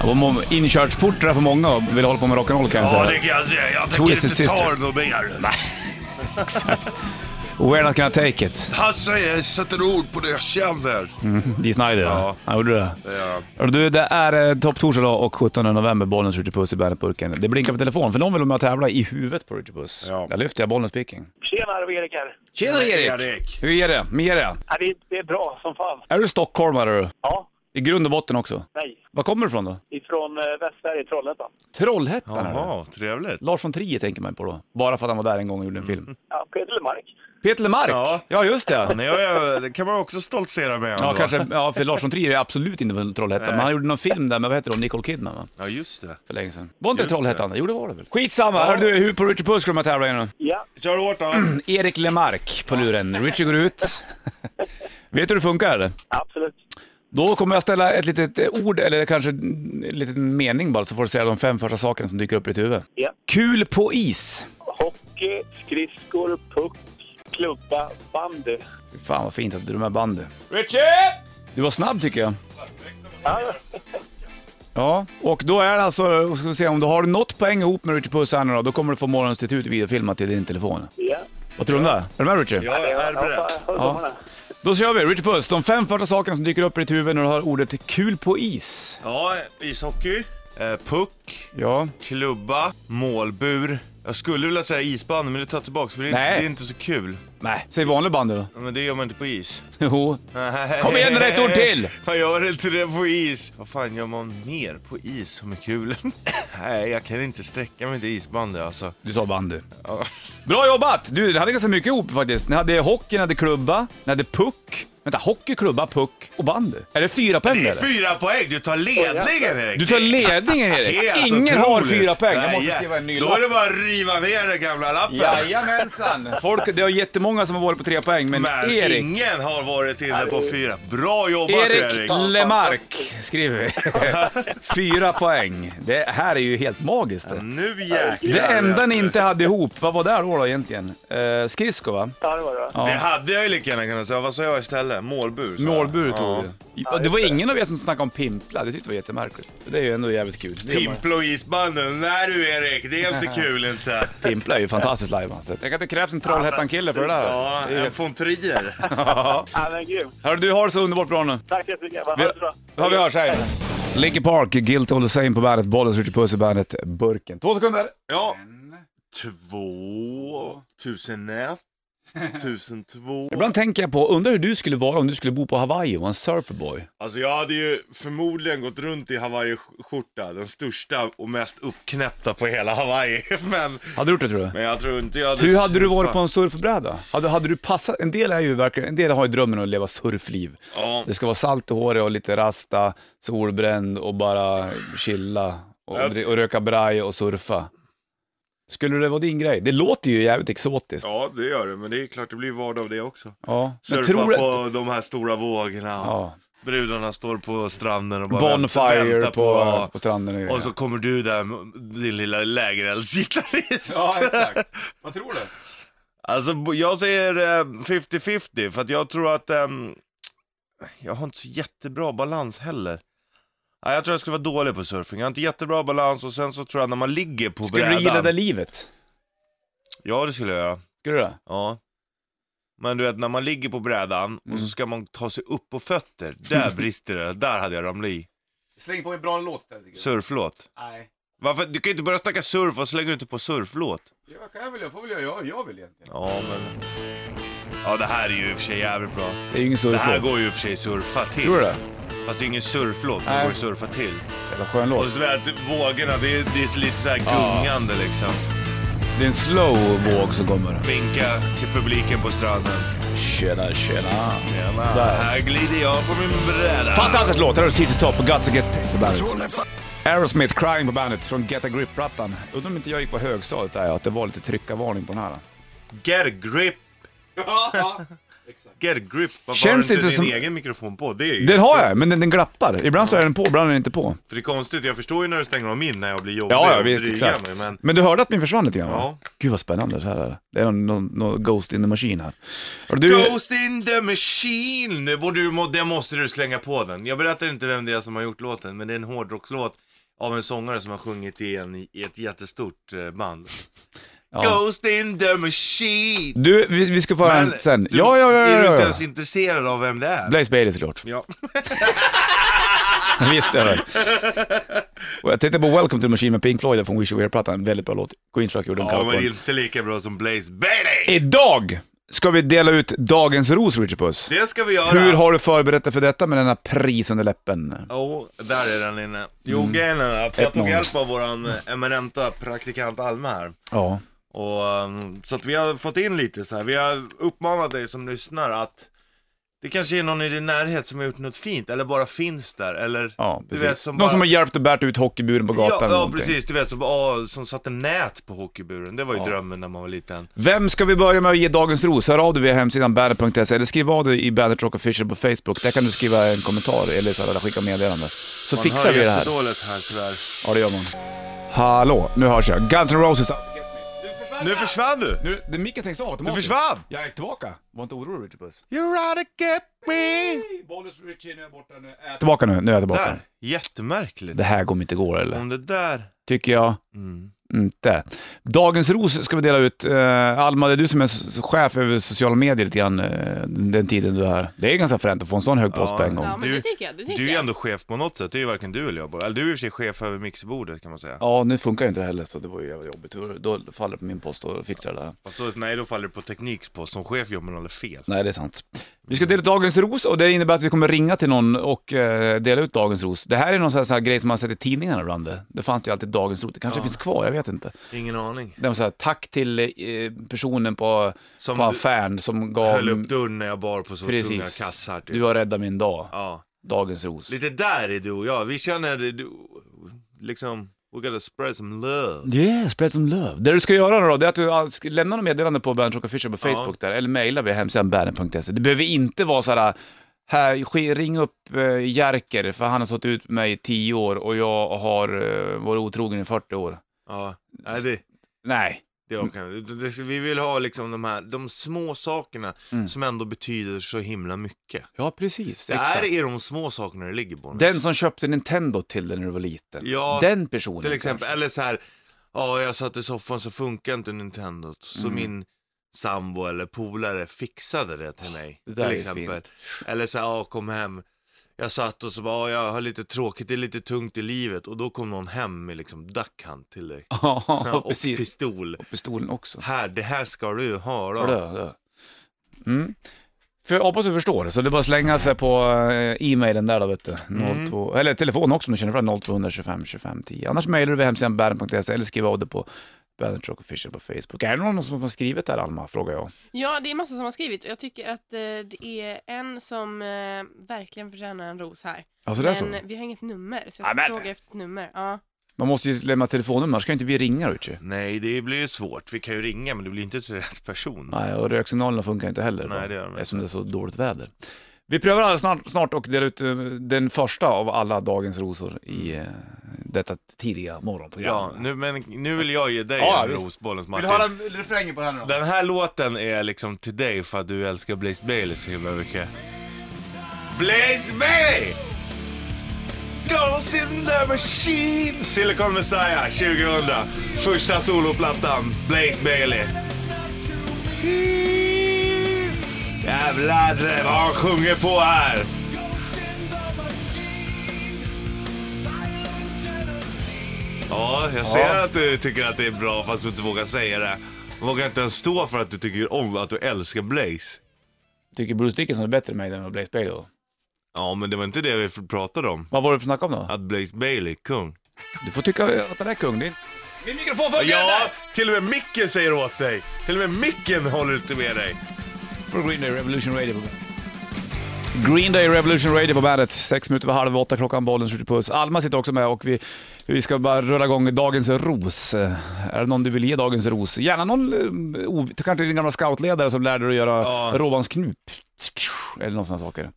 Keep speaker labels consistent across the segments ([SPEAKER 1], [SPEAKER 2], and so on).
[SPEAKER 1] Det var må- Inkörsportar för många och ville hålla på med rock'n'roll kan jag
[SPEAKER 2] Ja,
[SPEAKER 1] säga.
[SPEAKER 2] det kan jag säga. Jag tänker
[SPEAKER 1] Twisted
[SPEAKER 2] inte ta
[SPEAKER 1] Sister.
[SPEAKER 2] det något mer.
[SPEAKER 1] Exakt. We're not gonna take it.
[SPEAKER 2] Hasse, jag sätter ord på det jag känner.
[SPEAKER 1] Dee Snider, ja.
[SPEAKER 2] Ja.
[SPEAKER 1] han gjorde det.
[SPEAKER 2] Ja.
[SPEAKER 1] Och Du, det är eh, topptorsdag idag och 17 november, Bollnäs Ritchie Puss i Bandet-burken. Det blinkar på telefon, för någon vill vara med och tävla i huvudet på Ritchie Puss.
[SPEAKER 2] Ja.
[SPEAKER 1] Där lyfter jag Bollnäs speaking.
[SPEAKER 3] Tjena, det var Erik här.
[SPEAKER 1] Tjena
[SPEAKER 2] Erik. Erik.
[SPEAKER 1] Hur är det med det?
[SPEAKER 3] Ja, det, det är bra som fan.
[SPEAKER 1] Är du stockholmare du?
[SPEAKER 3] Ja,
[SPEAKER 1] I grund och botten också.
[SPEAKER 3] nej.
[SPEAKER 1] Var kommer du ifrån då?
[SPEAKER 3] Ifrån eh, Västsverige, Trollhättan.
[SPEAKER 1] Trollhättan är
[SPEAKER 2] Jaha, trevligt.
[SPEAKER 1] det. Lars von Trier tänker man på då. Bara för att han var där en gång och gjorde en film.
[SPEAKER 3] Ja, Petermark.
[SPEAKER 1] Peter Lemark! Ja.
[SPEAKER 2] Ja.
[SPEAKER 1] just det.
[SPEAKER 2] Nej, jag, jag, det kan man också stoltsera med.
[SPEAKER 1] Ja,
[SPEAKER 2] ändå.
[SPEAKER 1] kanske, ja, för Lars von Trier är absolut inte från Trollhättan, men han gjorde någon film där med, vad heter hon, Nicole Kidman va?
[SPEAKER 2] Ja, just det.
[SPEAKER 1] För länge sedan. Var inte det
[SPEAKER 2] Just
[SPEAKER 1] Trollhättan? Jo det var det väl. Skitsamma, hör du, hur på Richard Puss ska de här tävla igen nu.
[SPEAKER 3] Ja,
[SPEAKER 2] Kör hårt då.
[SPEAKER 1] Erik Lemark på luren. Richie går ut. Vet du hur det funkar eller?
[SPEAKER 3] absolut.
[SPEAKER 1] Då kommer jag ställa ett litet eh, ord, eller kanske en liten mening bara, så får du säga de fem första sakerna som dyker upp i ditt huvud.
[SPEAKER 3] Ja.
[SPEAKER 1] Kul på is.
[SPEAKER 3] Hockey, skridskor, puck, klubba, bandy.
[SPEAKER 1] Fy Fan vad fint att du är med bandy. Richie! Du var snabb tycker jag.
[SPEAKER 3] Ja,
[SPEAKER 1] Ja, och då är det alltså, ska vi se, om du har något poäng ihop med Richie Puss här nu då, då kommer du få morgonens titt ut videofilmat till din telefon.
[SPEAKER 3] ja.
[SPEAKER 1] Vad tror du om det? Är du med Richie?
[SPEAKER 2] Ja, jag är beredd.
[SPEAKER 3] Ja, håll tummarna.
[SPEAKER 1] Då kör vi, Richie Puss. De fem första sakerna som dyker upp i ditt huvud när du hör ordet kul på is.
[SPEAKER 2] Ja, ishockey, eh, puck,
[SPEAKER 1] Ja.
[SPEAKER 2] klubba, målbur. Jag skulle vilja säga isband, men det tar jag tillbaka för det är,
[SPEAKER 1] Nej.
[SPEAKER 2] det är inte så kul.
[SPEAKER 1] Nej, säg vanlig bandy då.
[SPEAKER 2] Ja, Men det gör man inte på is.
[SPEAKER 1] Jo. Kom igen, rätt ord till!
[SPEAKER 2] Man gör inte det på is. Vad fan gör man mer på is som är kul? Nej, jag kan inte sträcka mig till isbandet alltså.
[SPEAKER 1] Du sa bandy.
[SPEAKER 2] Ja.
[SPEAKER 1] Bra jobbat! Du, det hade ganska mycket ihop faktiskt. Ni hade hockey, ni hade klubba, ni hade puck. Vänta, hockey, klubba, puck och bandy. Är det fyra poäng
[SPEAKER 2] Det är
[SPEAKER 1] eller?
[SPEAKER 2] fyra poäng, du tar ledningen Erik!
[SPEAKER 1] Du tar ledningen Erik! Ingen har fyra poäng. Jag måste
[SPEAKER 2] Nej,
[SPEAKER 1] skriva en ny
[SPEAKER 2] Då
[SPEAKER 1] lapp.
[SPEAKER 2] är det bara att riva ner den gamla lappen.
[SPEAKER 1] Jajamensan! Folk, det är jättemånga som har varit på tre poäng, men,
[SPEAKER 2] Men
[SPEAKER 1] Erik...
[SPEAKER 2] ingen har varit inne på fyra. Bra jobbat Erik!
[SPEAKER 1] Erik Lemark skriver vi. Fyra poäng. Det här är ju helt magiskt. Det.
[SPEAKER 2] Nu jäklar!
[SPEAKER 1] Mm. Det enda ni inte hade ihop, vad var det då, då egentligen? Eh, skridsko va?
[SPEAKER 3] Ja, det var det.
[SPEAKER 1] Ja.
[SPEAKER 2] Det hade jag ju lika gärna kunnat säga. Vad sa jag istället? Målbur? sa jag.
[SPEAKER 1] Målbur
[SPEAKER 2] Ja.
[SPEAKER 1] tog vi. Det var ingen av er som snackade om pimpla, det tyckte jag var jättemärkligt. Det är ju ändå jävligt kul. Det gör man.
[SPEAKER 2] Pimplo isbanden. Nej du Erik, det är inte kul inte.
[SPEAKER 1] Pimpla är ju fantastiskt live alltså. Jag kan inte krävs en Trollhättan-kille för det där.
[SPEAKER 2] Ja,
[SPEAKER 1] alltså. Det är
[SPEAKER 2] en
[SPEAKER 1] helt-
[SPEAKER 2] von Trier.
[SPEAKER 3] Ja, men grymt.
[SPEAKER 1] Hörru du, har det så underbart bra nu.
[SPEAKER 3] Tack så jättemycket. Ha
[SPEAKER 1] Vi,
[SPEAKER 3] det så bra.
[SPEAKER 1] ja, vi hörs, hej. Linkin Park, Guilty All The Same på bandet, Bollens Ritchie Puss i bandet, Burken. Två sekunder!
[SPEAKER 2] Ja. Två... Tusen ett. Tusen två.
[SPEAKER 1] Ibland tänker jag på, undrar hur du skulle vara om du skulle bo på Hawaii och vara en surferboy.
[SPEAKER 2] Alltså jag hade ju förmodligen gått runt i Hawaii-skjorta. Den största och mest uppknäppta på hela Hawaii. Men,
[SPEAKER 1] Hade du gjort det tror du?
[SPEAKER 2] men jag tror inte jag hade...
[SPEAKER 1] Hur hade du varit på en surfbräda? Hade, hade du passat? En del är ju verkligen, en del har ju drömmen att leva surfliv.
[SPEAKER 2] Ja.
[SPEAKER 1] Det ska vara salt i håret och lite rasta, solbränd och bara chilla och,
[SPEAKER 2] Jag-
[SPEAKER 1] och röka braj och surfa. Skulle det vara din grej? Det låter ju jävligt exotiskt. Ja.
[SPEAKER 2] Ja, det gör det. Men det är klart, det blir vardag av det också.
[SPEAKER 1] Men
[SPEAKER 2] Surfa
[SPEAKER 1] tror du...
[SPEAKER 2] på de här stora vågorna.
[SPEAKER 1] Ja.
[SPEAKER 2] Brudarna står på stranden och bara
[SPEAKER 1] Bonfire
[SPEAKER 2] väntar
[SPEAKER 1] på, på, stranden och grejer.
[SPEAKER 2] Och så kommer du där med din lilla lägereldsgitarrist.
[SPEAKER 1] Ja, exakt. Vad tror du?
[SPEAKER 2] Alltså bo- jag säger eh, 50-50 för att jag tror att ehm, jag har inte så jättebra balans heller. Nej, jag tror jag skulle vara dålig på surfing. Jag har inte jättebra balans och sen så tror jag när man ligger på
[SPEAKER 1] Skulle du
[SPEAKER 2] brädan.
[SPEAKER 1] gilla det livet?
[SPEAKER 2] Ja, det skulle jag göra.
[SPEAKER 1] Skulle du det?
[SPEAKER 2] Ja. Men du vet när man ligger på brädan och så
[SPEAKER 1] Mm.
[SPEAKER 2] ska man ta sig upp på fötter. Där brister det. Där hade jag ramlat i.
[SPEAKER 1] Släng på en bra låt istället.
[SPEAKER 2] Surflåt.
[SPEAKER 1] Nej.
[SPEAKER 2] Varför? Du kan ju inte börja snacka surf och så lägger du inte på surflåt.
[SPEAKER 1] Jag kan väl, jag får väl göra jag, jag vill egentligen.
[SPEAKER 2] Ja, men... Ja, det här är ju i och för sig jävligt bra.
[SPEAKER 1] Det är ju ingen
[SPEAKER 2] Det här
[SPEAKER 1] surflåt.
[SPEAKER 2] går ju i och för sig surfa till.
[SPEAKER 1] Tror du det?
[SPEAKER 2] Fast det är ingen surflåt, men
[SPEAKER 1] Nej.
[SPEAKER 2] det går att surfa till.
[SPEAKER 1] Jävla skön
[SPEAKER 2] Och
[SPEAKER 1] låt.
[SPEAKER 2] så vet, vågorna, det är, det är lite så här gungande liksom.
[SPEAKER 1] Det är en slow våg som kommer.
[SPEAKER 2] Vinka till publiken på stranden.
[SPEAKER 1] Tjena, tjena.
[SPEAKER 2] Tjena,
[SPEAKER 1] Sådär.
[SPEAKER 2] här glider jag på min bräda.
[SPEAKER 1] Fantastisk låt! Här har du ZZ Top och Guts och Get Paid på bandet. Aerosmith Crying på bandet från Get A Grip-plattan. Undrar om inte jag gick på högstadiet där, att det var lite tryckarvarning på den här.
[SPEAKER 2] Get a grip! Get a grip. Varför
[SPEAKER 1] Känns
[SPEAKER 2] har du
[SPEAKER 1] inte
[SPEAKER 2] inte din
[SPEAKER 1] som-
[SPEAKER 2] egen mikrofon på? Det är ju...
[SPEAKER 1] Den har jag, men den, den glappar. Ibland så är den på, ibland är den inte på.
[SPEAKER 2] För det är konstigt, jag förstår ju när du stänger av min när jag blir jobbig
[SPEAKER 1] Ja, ja
[SPEAKER 2] och
[SPEAKER 1] visst,
[SPEAKER 2] drygar
[SPEAKER 1] exakt.
[SPEAKER 2] mig,
[SPEAKER 1] Men...
[SPEAKER 2] men...
[SPEAKER 1] du hörde att min försvann lite grann va?
[SPEAKER 2] Ja.
[SPEAKER 1] Gud vad spännande det här är. Det är någon, någon, någon Ghost in the Machine här. Och du,
[SPEAKER 2] Ghost in the machine! Det, borde du, må- det måste du slänga på den. Jag berättar inte vem det är som har gjort låten, men det är en hårdrockslåt av en sångare som har sjungit i, en, i ett jättestort eh, band.
[SPEAKER 1] Ja.
[SPEAKER 2] Ghost in the machine!
[SPEAKER 1] Du, vi, vi ska få höra en
[SPEAKER 2] Men
[SPEAKER 1] sen.
[SPEAKER 2] du-
[SPEAKER 1] Ja, ja, ja,
[SPEAKER 2] Är du
[SPEAKER 1] ja,
[SPEAKER 2] inte
[SPEAKER 1] ja.
[SPEAKER 2] ens intresserad av vem det är?
[SPEAKER 1] Blaze Bailey såklart.
[SPEAKER 2] Ja.
[SPEAKER 1] Visst är det. Och jag tänkte på Welcome to the Machine med Pink Floyd från Wish You Were-plattan. Väldigt bra låt. Queen Truck gjorde en
[SPEAKER 2] ja,
[SPEAKER 1] cover
[SPEAKER 2] men
[SPEAKER 1] på
[SPEAKER 2] det är
[SPEAKER 1] den.
[SPEAKER 2] inte lika bra som Blaze Bailey!
[SPEAKER 1] Idag ska vi dela ut dagens ros, Richard Puss.
[SPEAKER 2] Det ska vi göra!
[SPEAKER 1] Hur har du förberett dig för detta med denna pris under läppen?
[SPEAKER 2] Jo, där är den inne. Jo,
[SPEAKER 1] Mm.
[SPEAKER 2] grejen är att jag
[SPEAKER 1] 1-0.
[SPEAKER 2] tog hjälp av våran eh, eminenta praktikant Alma här.
[SPEAKER 1] Ja.
[SPEAKER 2] Och, um, så att vi har fått in lite så här. vi har uppmanat dig som lyssnar att det kanske är någon i din närhet som har gjort något fint, eller bara finns där, eller
[SPEAKER 1] Ja,
[SPEAKER 2] du
[SPEAKER 1] precis.
[SPEAKER 2] vet som
[SPEAKER 1] Någon
[SPEAKER 2] bara...
[SPEAKER 1] som har hjälpt och bärt ut hockeyburen på gatan
[SPEAKER 2] Ja,
[SPEAKER 1] eller
[SPEAKER 2] ja
[SPEAKER 1] någonting.
[SPEAKER 2] precis, du vet som, ja, som satte nät på hockeyburen, det var ju drömmen när man var liten.
[SPEAKER 1] Vem ska vi börja med att ge dagens ros? Hör av dig via hemsidan bandet.se eller skriv av dig i Bandet Rock Official på Facebook. Där kan du skriva en kommentar eller så här, skicka meddelande. Så
[SPEAKER 2] Man
[SPEAKER 1] fixar vi det här.
[SPEAKER 2] jättedåligt här tyvärr.
[SPEAKER 1] Ja, det gör man. Hallå, nu hörs jag. Guns N' Roses.
[SPEAKER 2] Nu försvann du!
[SPEAKER 1] Nu, den micken stängs av
[SPEAKER 2] Du
[SPEAKER 1] automatiskt.
[SPEAKER 2] försvann!
[SPEAKER 1] Jag är tillbaka. Var inte orolig Richard Puss.
[SPEAKER 2] You're out to get me!
[SPEAKER 1] Bollers Richie, nu är jag borta. Nu är jag tillbaka nu. Nu är jag tillbaka.
[SPEAKER 2] Där, jättemärkligt.
[SPEAKER 1] Det här kommer inte gå eller?
[SPEAKER 2] Om det där...
[SPEAKER 1] Tycker jag
[SPEAKER 2] Mm.
[SPEAKER 1] inte. Dagens ros ska vi dela ut. Eh, Alma, det är du som är s- chef över sociala medier lite grann eh, den tiden du är här. Det är ganska fränt att få en sån hög post
[SPEAKER 2] Ja.
[SPEAKER 1] på en gång.
[SPEAKER 2] Ja.
[SPEAKER 4] Ja, men
[SPEAKER 2] Du-
[SPEAKER 4] det tycker jag. Det tycker
[SPEAKER 2] Du är
[SPEAKER 4] jag.
[SPEAKER 2] ju ändå chef på något sätt, det är ju varken du eller jag bara. Eller du är i och för sig chef över mixerbordet kan man säga.
[SPEAKER 1] Ja, nu funkar ju inte det heller så det var ju jävligt jobbigt. Då faller det på min post och fixar det där.
[SPEAKER 2] Fast då, nej, då faller det på tekniks på. Som chef gör man aldrig fel.
[SPEAKER 1] Nej, det är sant. Vi ska dela ut dagens ros och det innebär att vi kommer ringa till någon och eh, dela ut dagens ros. Det här är någon sån här, sån här grej som man har sett i tidningarna ibland. det. Det fanns ju alltid dagens ros. Det kanske
[SPEAKER 2] Ja.
[SPEAKER 1] finns kvar, jag vet inte.
[SPEAKER 2] Ingen aning.
[SPEAKER 1] Det var så här, tack till eh, personen på,
[SPEAKER 2] Som
[SPEAKER 1] på
[SPEAKER 2] du
[SPEAKER 1] affären som gav...
[SPEAKER 2] höll upp dörren när jag bar på så tunga
[SPEAKER 1] Precis.
[SPEAKER 2] kassar. Typ.
[SPEAKER 1] Du har räddat min dag.
[SPEAKER 2] Ja.
[SPEAKER 1] Dagens ros.
[SPEAKER 2] Lite där är du och jag. Vi känner det, du, liksom, we gotta spread some love.
[SPEAKER 1] Yeah, spread some love. Det du ska göra nu då, det är att du all- ska- lämnar något meddelande på Bandit Rock Official på
[SPEAKER 2] Ja.
[SPEAKER 1] Facebook där, eller mejla via hemsidan bandit.se. Det behöver inte vara så här, här, sk- ring upp eh, Jerker för han har stått ut med mig i 10 år och jag har eh, varit otrogen i 40 år.
[SPEAKER 2] Ja. Nej, det,
[SPEAKER 1] Nej.
[SPEAKER 2] det är okej. Det- det- Vi vill ha liksom de här, de små sakerna
[SPEAKER 1] Mm.
[SPEAKER 2] som ändå betyder så himla mycket.
[SPEAKER 1] Ja, precis.
[SPEAKER 2] Det
[SPEAKER 1] Exakt.
[SPEAKER 2] här är de små sakerna det ligger på.
[SPEAKER 1] Den som köpte Nintendo till dig när du var liten.
[SPEAKER 2] Ja,
[SPEAKER 1] Den personen.
[SPEAKER 2] Till exempel,
[SPEAKER 1] kanske.
[SPEAKER 2] eller så här, ja jag satt i soffan så funkar inte Nintendo. Så
[SPEAKER 1] Mm.
[SPEAKER 2] min sambo eller polare fixade det till mig.
[SPEAKER 1] det där är
[SPEAKER 2] till exempel. Eller så här, ja kom hem. Jag satt och så bara, ja, jag har lite tråkigt, det är lite tungt i livet. Och då kom någon hem med liksom duck hunt till dig.
[SPEAKER 1] Ja,
[SPEAKER 2] och
[SPEAKER 1] precis.
[SPEAKER 2] pistol.
[SPEAKER 1] Och pistolen också.
[SPEAKER 2] Här, det här ska du ha då.
[SPEAKER 1] Rö, rö. Mm. För jag hoppas du förstår, så det är bara att slänga sig på eh, e-mailen där då vet du.
[SPEAKER 2] Mm.
[SPEAKER 1] 02, Eller telefon också om du känner för det, 0225 25 10. Annars mailar du via hemsidan bandet.se eller skriver av dig på Bandet Rock Official på Facebook. Är det någon som har skrivit där Alma, frågar jag.
[SPEAKER 4] Ja, det är massa som har skrivit och jag tycker att eh, det är en som eh, verkligen förtjänar en ros här.
[SPEAKER 1] Alltså det är
[SPEAKER 4] Men
[SPEAKER 1] så?
[SPEAKER 4] vi har inget nummer, så
[SPEAKER 1] Ja,
[SPEAKER 4] jag ska
[SPEAKER 1] men-
[SPEAKER 4] fråga efter ett nummer. Ja.
[SPEAKER 1] Man måste ju lämna telefonnummer, ska inte vi ringa Richie?
[SPEAKER 2] Nej, det blir ju svårt. Vi kan ju ringa, men det blir inte till rätt person.
[SPEAKER 1] Nej, och röksignalerna funkar inte heller.
[SPEAKER 2] Nej,
[SPEAKER 1] då,
[SPEAKER 2] det gör de inte.
[SPEAKER 1] Eftersom det är så dåligt väder. Vi prövar alldeles snart, snart och delar ut eh, den första av alla dagens rosor i eh, detta tidiga morgonprogram.
[SPEAKER 2] Ja, nu, men nu vill jag ge dig
[SPEAKER 1] Ja,
[SPEAKER 2] en
[SPEAKER 1] visst.
[SPEAKER 2] rosbollens
[SPEAKER 1] Vill
[SPEAKER 2] Martin.
[SPEAKER 1] du höra refrängen på den här nu då?
[SPEAKER 2] Den här låten är liksom till dig för att du älskar Blaze Bailey så himla mycket. Blaze Bailey! Ghost in the machine! Silicon Messiah 2000. Första soloplattan, Blaze Bailey. Jävlar vad han sjunger på här! Ja, jag ser
[SPEAKER 1] Ja.
[SPEAKER 2] att du tycker att det är bra fast du inte vågar säga det. Vågar inte ens stå för att du tycker om att du älskar Blaze.
[SPEAKER 1] Tycker Bruce Dickinson är bättre än mig än Blaze Bailey då?
[SPEAKER 2] Ja, men det var inte det vi pratade om.
[SPEAKER 1] Vad var det för snack om då?
[SPEAKER 2] Att Blaze Bailey, kung.
[SPEAKER 1] Du får tycka att han är kung. Det är... Min mikrofon funkar
[SPEAKER 2] Ja, till och med micken säger åt dig. Till och med micken håller inte med dig.
[SPEAKER 1] Från Green Day Revolution Radio på Green Day Revolution Radio på bandet. Sex minuter över halv åtta klockan, bollen skjuter puss. Alma sitter också med och vi, vi ska bara rulla igång dagens ros. Eh, Är det någon du vill ge dagens ros? Gärna någon, eh, ov- kanske din gamla scoutledare som lärde dig att göra
[SPEAKER 2] Ja.
[SPEAKER 1] råbandsknup. Eller någon sån här saker.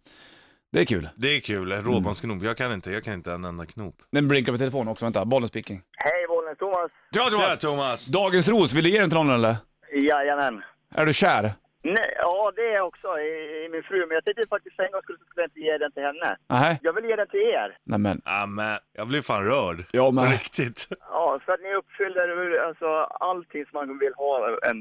[SPEAKER 1] Det är kul.
[SPEAKER 2] Det är kul, en råbandsknop. Jag kan inte, jag kan inte en enda knop.
[SPEAKER 1] Den blinkar på telefonen också, vänta. Bollen speaking.
[SPEAKER 5] Hej, Bollnäs Thomas.
[SPEAKER 1] Tja
[SPEAKER 2] Tja Thomas!
[SPEAKER 1] Dagens ros, vill du ge den till någon eller?
[SPEAKER 5] Jajamän.
[SPEAKER 1] Är du kär?
[SPEAKER 5] Nej, ja, det är jag också i, i min fru. Men jag tänkte faktiskt för en gångs skull så skulle jag inte ge den till henne.
[SPEAKER 1] Nej,
[SPEAKER 5] Jag vill ge den till er.
[SPEAKER 1] nej men.
[SPEAKER 2] Ja, men jag blir fan rörd.
[SPEAKER 1] Ja,
[SPEAKER 2] På
[SPEAKER 1] men.
[SPEAKER 2] riktigt.
[SPEAKER 5] Ja, för att ni uppfyller hur- alltså, allting som man vill ha en,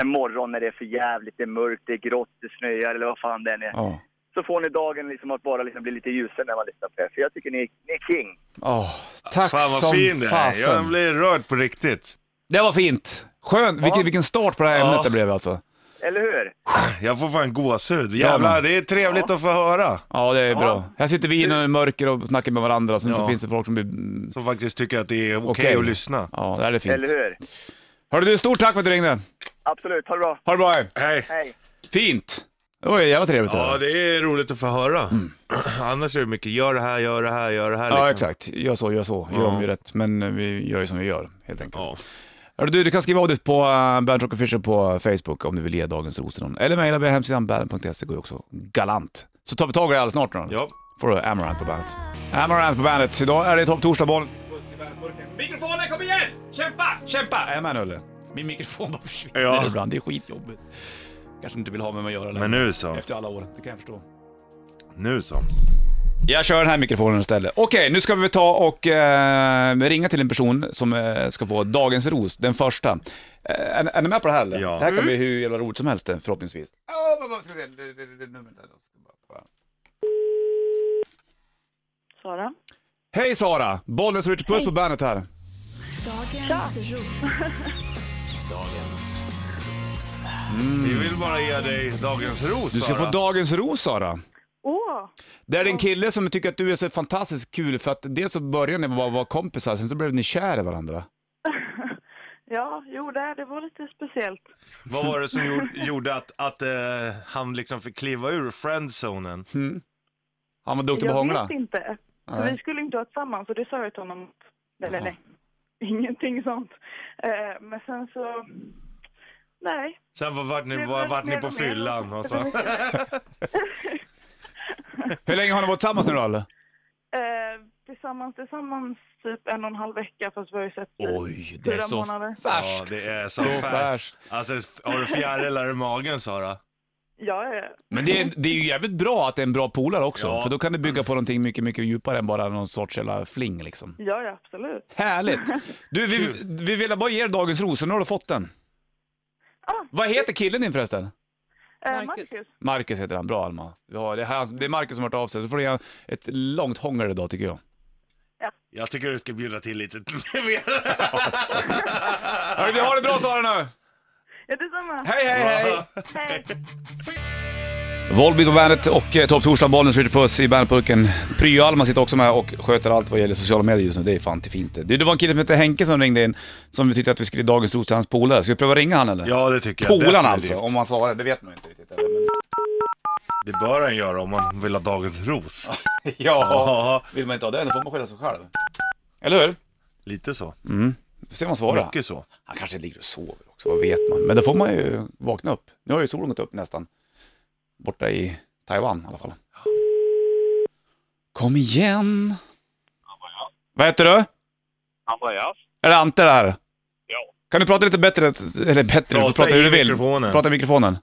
[SPEAKER 5] en morgon när det är för jävligt, det är mörkt, det är grått, det snöar eller vad fan det än är.
[SPEAKER 1] Ja.
[SPEAKER 5] Så får ni dagen liksom att bara liksom bli lite ljusare när man lyssnar på er. För jag tycker ni, ni är king.
[SPEAKER 1] Åh, tack
[SPEAKER 2] fan
[SPEAKER 1] som
[SPEAKER 2] vad fin det är. Jag
[SPEAKER 1] fasen.
[SPEAKER 2] blir rörd på riktigt.
[SPEAKER 1] Det var fint. Skönt. Vilken, vilken start på det här ämnet
[SPEAKER 2] Ja.
[SPEAKER 1] det blev alltså.
[SPEAKER 5] Eller hur?
[SPEAKER 2] Jag får fan gåshud.
[SPEAKER 1] Ja,
[SPEAKER 2] Jävlar,
[SPEAKER 1] men.
[SPEAKER 2] det är trevligt att få höra.
[SPEAKER 1] Ja, det är bra. Här sitter vi inne i mörker och snackar med varandra, sen så
[SPEAKER 2] Ja.
[SPEAKER 1] finns det folk som blir... mm,
[SPEAKER 2] Som faktiskt tycker att det är okej
[SPEAKER 1] Okej.
[SPEAKER 2] att lyssna.
[SPEAKER 1] Ja, det här är
[SPEAKER 5] Eller
[SPEAKER 1] fint.
[SPEAKER 5] hur?
[SPEAKER 1] Hörru du, stort tack för att du ringde.
[SPEAKER 5] Absolut, ha det bra.
[SPEAKER 1] Ha det bra. hej.
[SPEAKER 2] Hej.
[SPEAKER 5] Hej.
[SPEAKER 1] Fint. Det var ju jävla trevligt.
[SPEAKER 2] Ja,
[SPEAKER 1] där.
[SPEAKER 2] det är roligt att få höra. Annars är det mycket, gör det här, gör det här, gör det här.
[SPEAKER 1] Mm. Ja,
[SPEAKER 2] liksom.
[SPEAKER 1] exakt. Gör så, gör så. Gör
[SPEAKER 2] Ja.
[SPEAKER 1] om vi rätt. Men eh, vi gör ju som vi gör, helt enkelt.
[SPEAKER 2] Ja.
[SPEAKER 1] Hörru du, du kan skriva av dig på uh, Bandrock Official på Facebook om du vill ge dagens ros till någon. Eller mejla via hemsidan bandit.se, går ju också galant. Så tar vi tag i det alldeles snart nu.
[SPEAKER 2] ja.
[SPEAKER 1] får du Amaranth på bandet. Amaranth på bandet. Idag är det Topp Torsdag-boll. Mikrofonen, kom igen! Kämpa, kämpa! Är jag med nu eller? Min mikrofon bara försvinner
[SPEAKER 2] Ja.
[SPEAKER 1] ibland, det är skitjobbigt. Kanske inte vill ha med mig att göra längre.
[SPEAKER 2] Men nu så.
[SPEAKER 1] Efter alla år, det kan jag förstå.
[SPEAKER 2] Nu så.
[SPEAKER 1] Mm. Jag kör den här mikrofonen istället. Okej, nu ska vi ta och eh, ringa till en person som eh, ska få dagens ros, den första. Eh, är, är ni med på det här eller?
[SPEAKER 2] Ja.
[SPEAKER 1] Det här
[SPEAKER 6] Mm.
[SPEAKER 1] kan bli hur jävla roligt som helst eh, förhoppningsvis. Ja, vad- vad- ska vi se, det- det- det- det- numret där då. Ska bara- bara-
[SPEAKER 6] Sara?
[SPEAKER 1] Hej Sara! Bollnäs och Ritchie Puss på bandet här.
[SPEAKER 6] Dagens ros.
[SPEAKER 2] Vi vill bara ge dig dagens ros,
[SPEAKER 1] Du ska
[SPEAKER 2] Sara.
[SPEAKER 1] få dagens ros Sara.
[SPEAKER 6] Åh!
[SPEAKER 1] Det är en kille som tycker att du är så fantastiskt kul för att dels så började ni bara vara kompisar, sen så blev ni kär i varandra.
[SPEAKER 6] Ja, jo, det, det var lite speciellt.
[SPEAKER 2] Vad var det som gjorde, gjorde att, att eh, han liksom fick kliva ur friendzonen?
[SPEAKER 1] Mm. Han var duktig på att
[SPEAKER 6] jag
[SPEAKER 1] hångla.
[SPEAKER 6] vet inte. För
[SPEAKER 1] Nej.
[SPEAKER 6] vi skulle inte vara tillsammans och det sa jag till honom. Eller
[SPEAKER 1] Jaha.
[SPEAKER 6] nej, ingenting sånt. Eh, men sen så... Nej.
[SPEAKER 2] Sen var, vart ni,
[SPEAKER 6] Det
[SPEAKER 2] var,
[SPEAKER 6] var
[SPEAKER 2] vart ni
[SPEAKER 6] mer
[SPEAKER 2] på
[SPEAKER 6] och mer.
[SPEAKER 2] fyllan och så.
[SPEAKER 1] Hur länge har ni varit tillsammans nu då eller?
[SPEAKER 6] Eh, tillsammans, tillsammans typ en och en halv vecka fast vi har ju sett i
[SPEAKER 1] Oj, det är
[SPEAKER 6] fyra
[SPEAKER 1] så
[SPEAKER 6] månader.
[SPEAKER 2] Ja,
[SPEAKER 1] färskt.
[SPEAKER 2] det är så,
[SPEAKER 1] Så
[SPEAKER 2] färskt.
[SPEAKER 1] färskt.
[SPEAKER 2] Alltså, har du fjärilar i magen, Sara?
[SPEAKER 6] Ja, ja.
[SPEAKER 1] Men det är, det är ju jävligt bra att det är en bra polare också,
[SPEAKER 2] Ja.
[SPEAKER 1] för då kan du bygga på någonting mycket, mycket djupare än bara någon sorts jävla fling liksom.
[SPEAKER 6] ja, ja, absolut.
[SPEAKER 1] Härligt! Du, vi, vi ville bara ge er dagens ros, så nu har du fått den.
[SPEAKER 6] Ah.
[SPEAKER 1] Vad heter killen din förresten?
[SPEAKER 6] Eh,
[SPEAKER 4] Marcus.
[SPEAKER 6] Marcus.
[SPEAKER 1] Marcus heter han, bra Alma. Ja, det, är han, det är Marcus som har hört av sig, så får du ge honom ett långt hångel idag tycker jag.
[SPEAKER 2] Jag tycker du ska bjuda till lite mer.
[SPEAKER 1] Hörru, vi har det bra Sara nu!
[SPEAKER 6] Ja, detsamma.
[SPEAKER 1] Hej, hej, hej!
[SPEAKER 6] Hej.
[SPEAKER 1] Volbeat på bandet och eh, Topp Torsdag, Bollnäs, Ritchie Puss i bandpurken. Pryo-Alma sitter också med och sköter allt vad gäller sociala medier just nu. Det är fan till fint det. Du, det var en kille som hette Henke som ringde in, som vi tyckte att vi skulle ge dagens ros till hans polare. Ska vi pröva ringa han eller?
[SPEAKER 2] Ja, det tycker jag
[SPEAKER 1] Polaren
[SPEAKER 2] definitivt.
[SPEAKER 1] alltså, om han svarar. Det vet man ju inte riktigt eller, men...
[SPEAKER 2] Det bör han göra om man vill ha dagens ros.
[SPEAKER 1] Ja, vill man inte ha den, då får man skylla sig själv. Eller hur?
[SPEAKER 2] Lite så.
[SPEAKER 1] Vi får se om han svarar.
[SPEAKER 2] Mycket så.
[SPEAKER 1] Han kanske ligger och sover också, vad vet man? Men då får man ju vakna upp. Nu har ju solen gått upp nästan. Borta i Taiwan i alla fall. Kom igen! Vad heter du?
[SPEAKER 3] Andreas?
[SPEAKER 1] Är det Ante där?
[SPEAKER 3] Ja.
[SPEAKER 1] Kan du prata lite bättre? Eller bättre, du får
[SPEAKER 2] Prata
[SPEAKER 1] prata
[SPEAKER 2] i
[SPEAKER 1] hur du vill.
[SPEAKER 2] mikrofonen.
[SPEAKER 1] Prata i mikrofonen.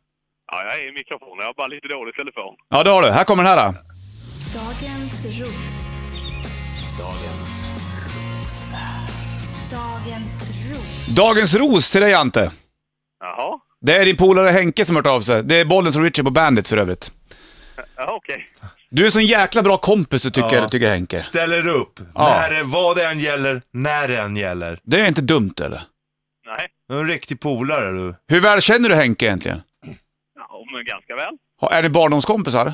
[SPEAKER 3] Ja, jag är i mikrofonen. Jag har bara lite dålig telefon.
[SPEAKER 1] Ja, det har du. Här kommer den här. Då.
[SPEAKER 7] Dagens ros. Dagens ros.
[SPEAKER 1] Dagens ros till dig Ante.
[SPEAKER 3] Jaha.
[SPEAKER 1] Det är din polare Henke som har hört av sig. Det är bollen som Richie på Bandit för övrigt.
[SPEAKER 3] Ja, okej.
[SPEAKER 1] Du är en sån jäkla bra kompis du tycker,
[SPEAKER 2] Ja.
[SPEAKER 1] tycker Henke.
[SPEAKER 2] Ställer upp.
[SPEAKER 1] Ja.
[SPEAKER 2] När det, vad det än gäller, när det än gäller.
[SPEAKER 1] Det är inte dumt eller?
[SPEAKER 3] Nej.
[SPEAKER 2] Du är en riktig polare du.
[SPEAKER 1] Hur väl känner du Henke egentligen?
[SPEAKER 3] Ja, men ganska väl.
[SPEAKER 1] Ha- Är ni barndomskompisar?
[SPEAKER 3] Nej,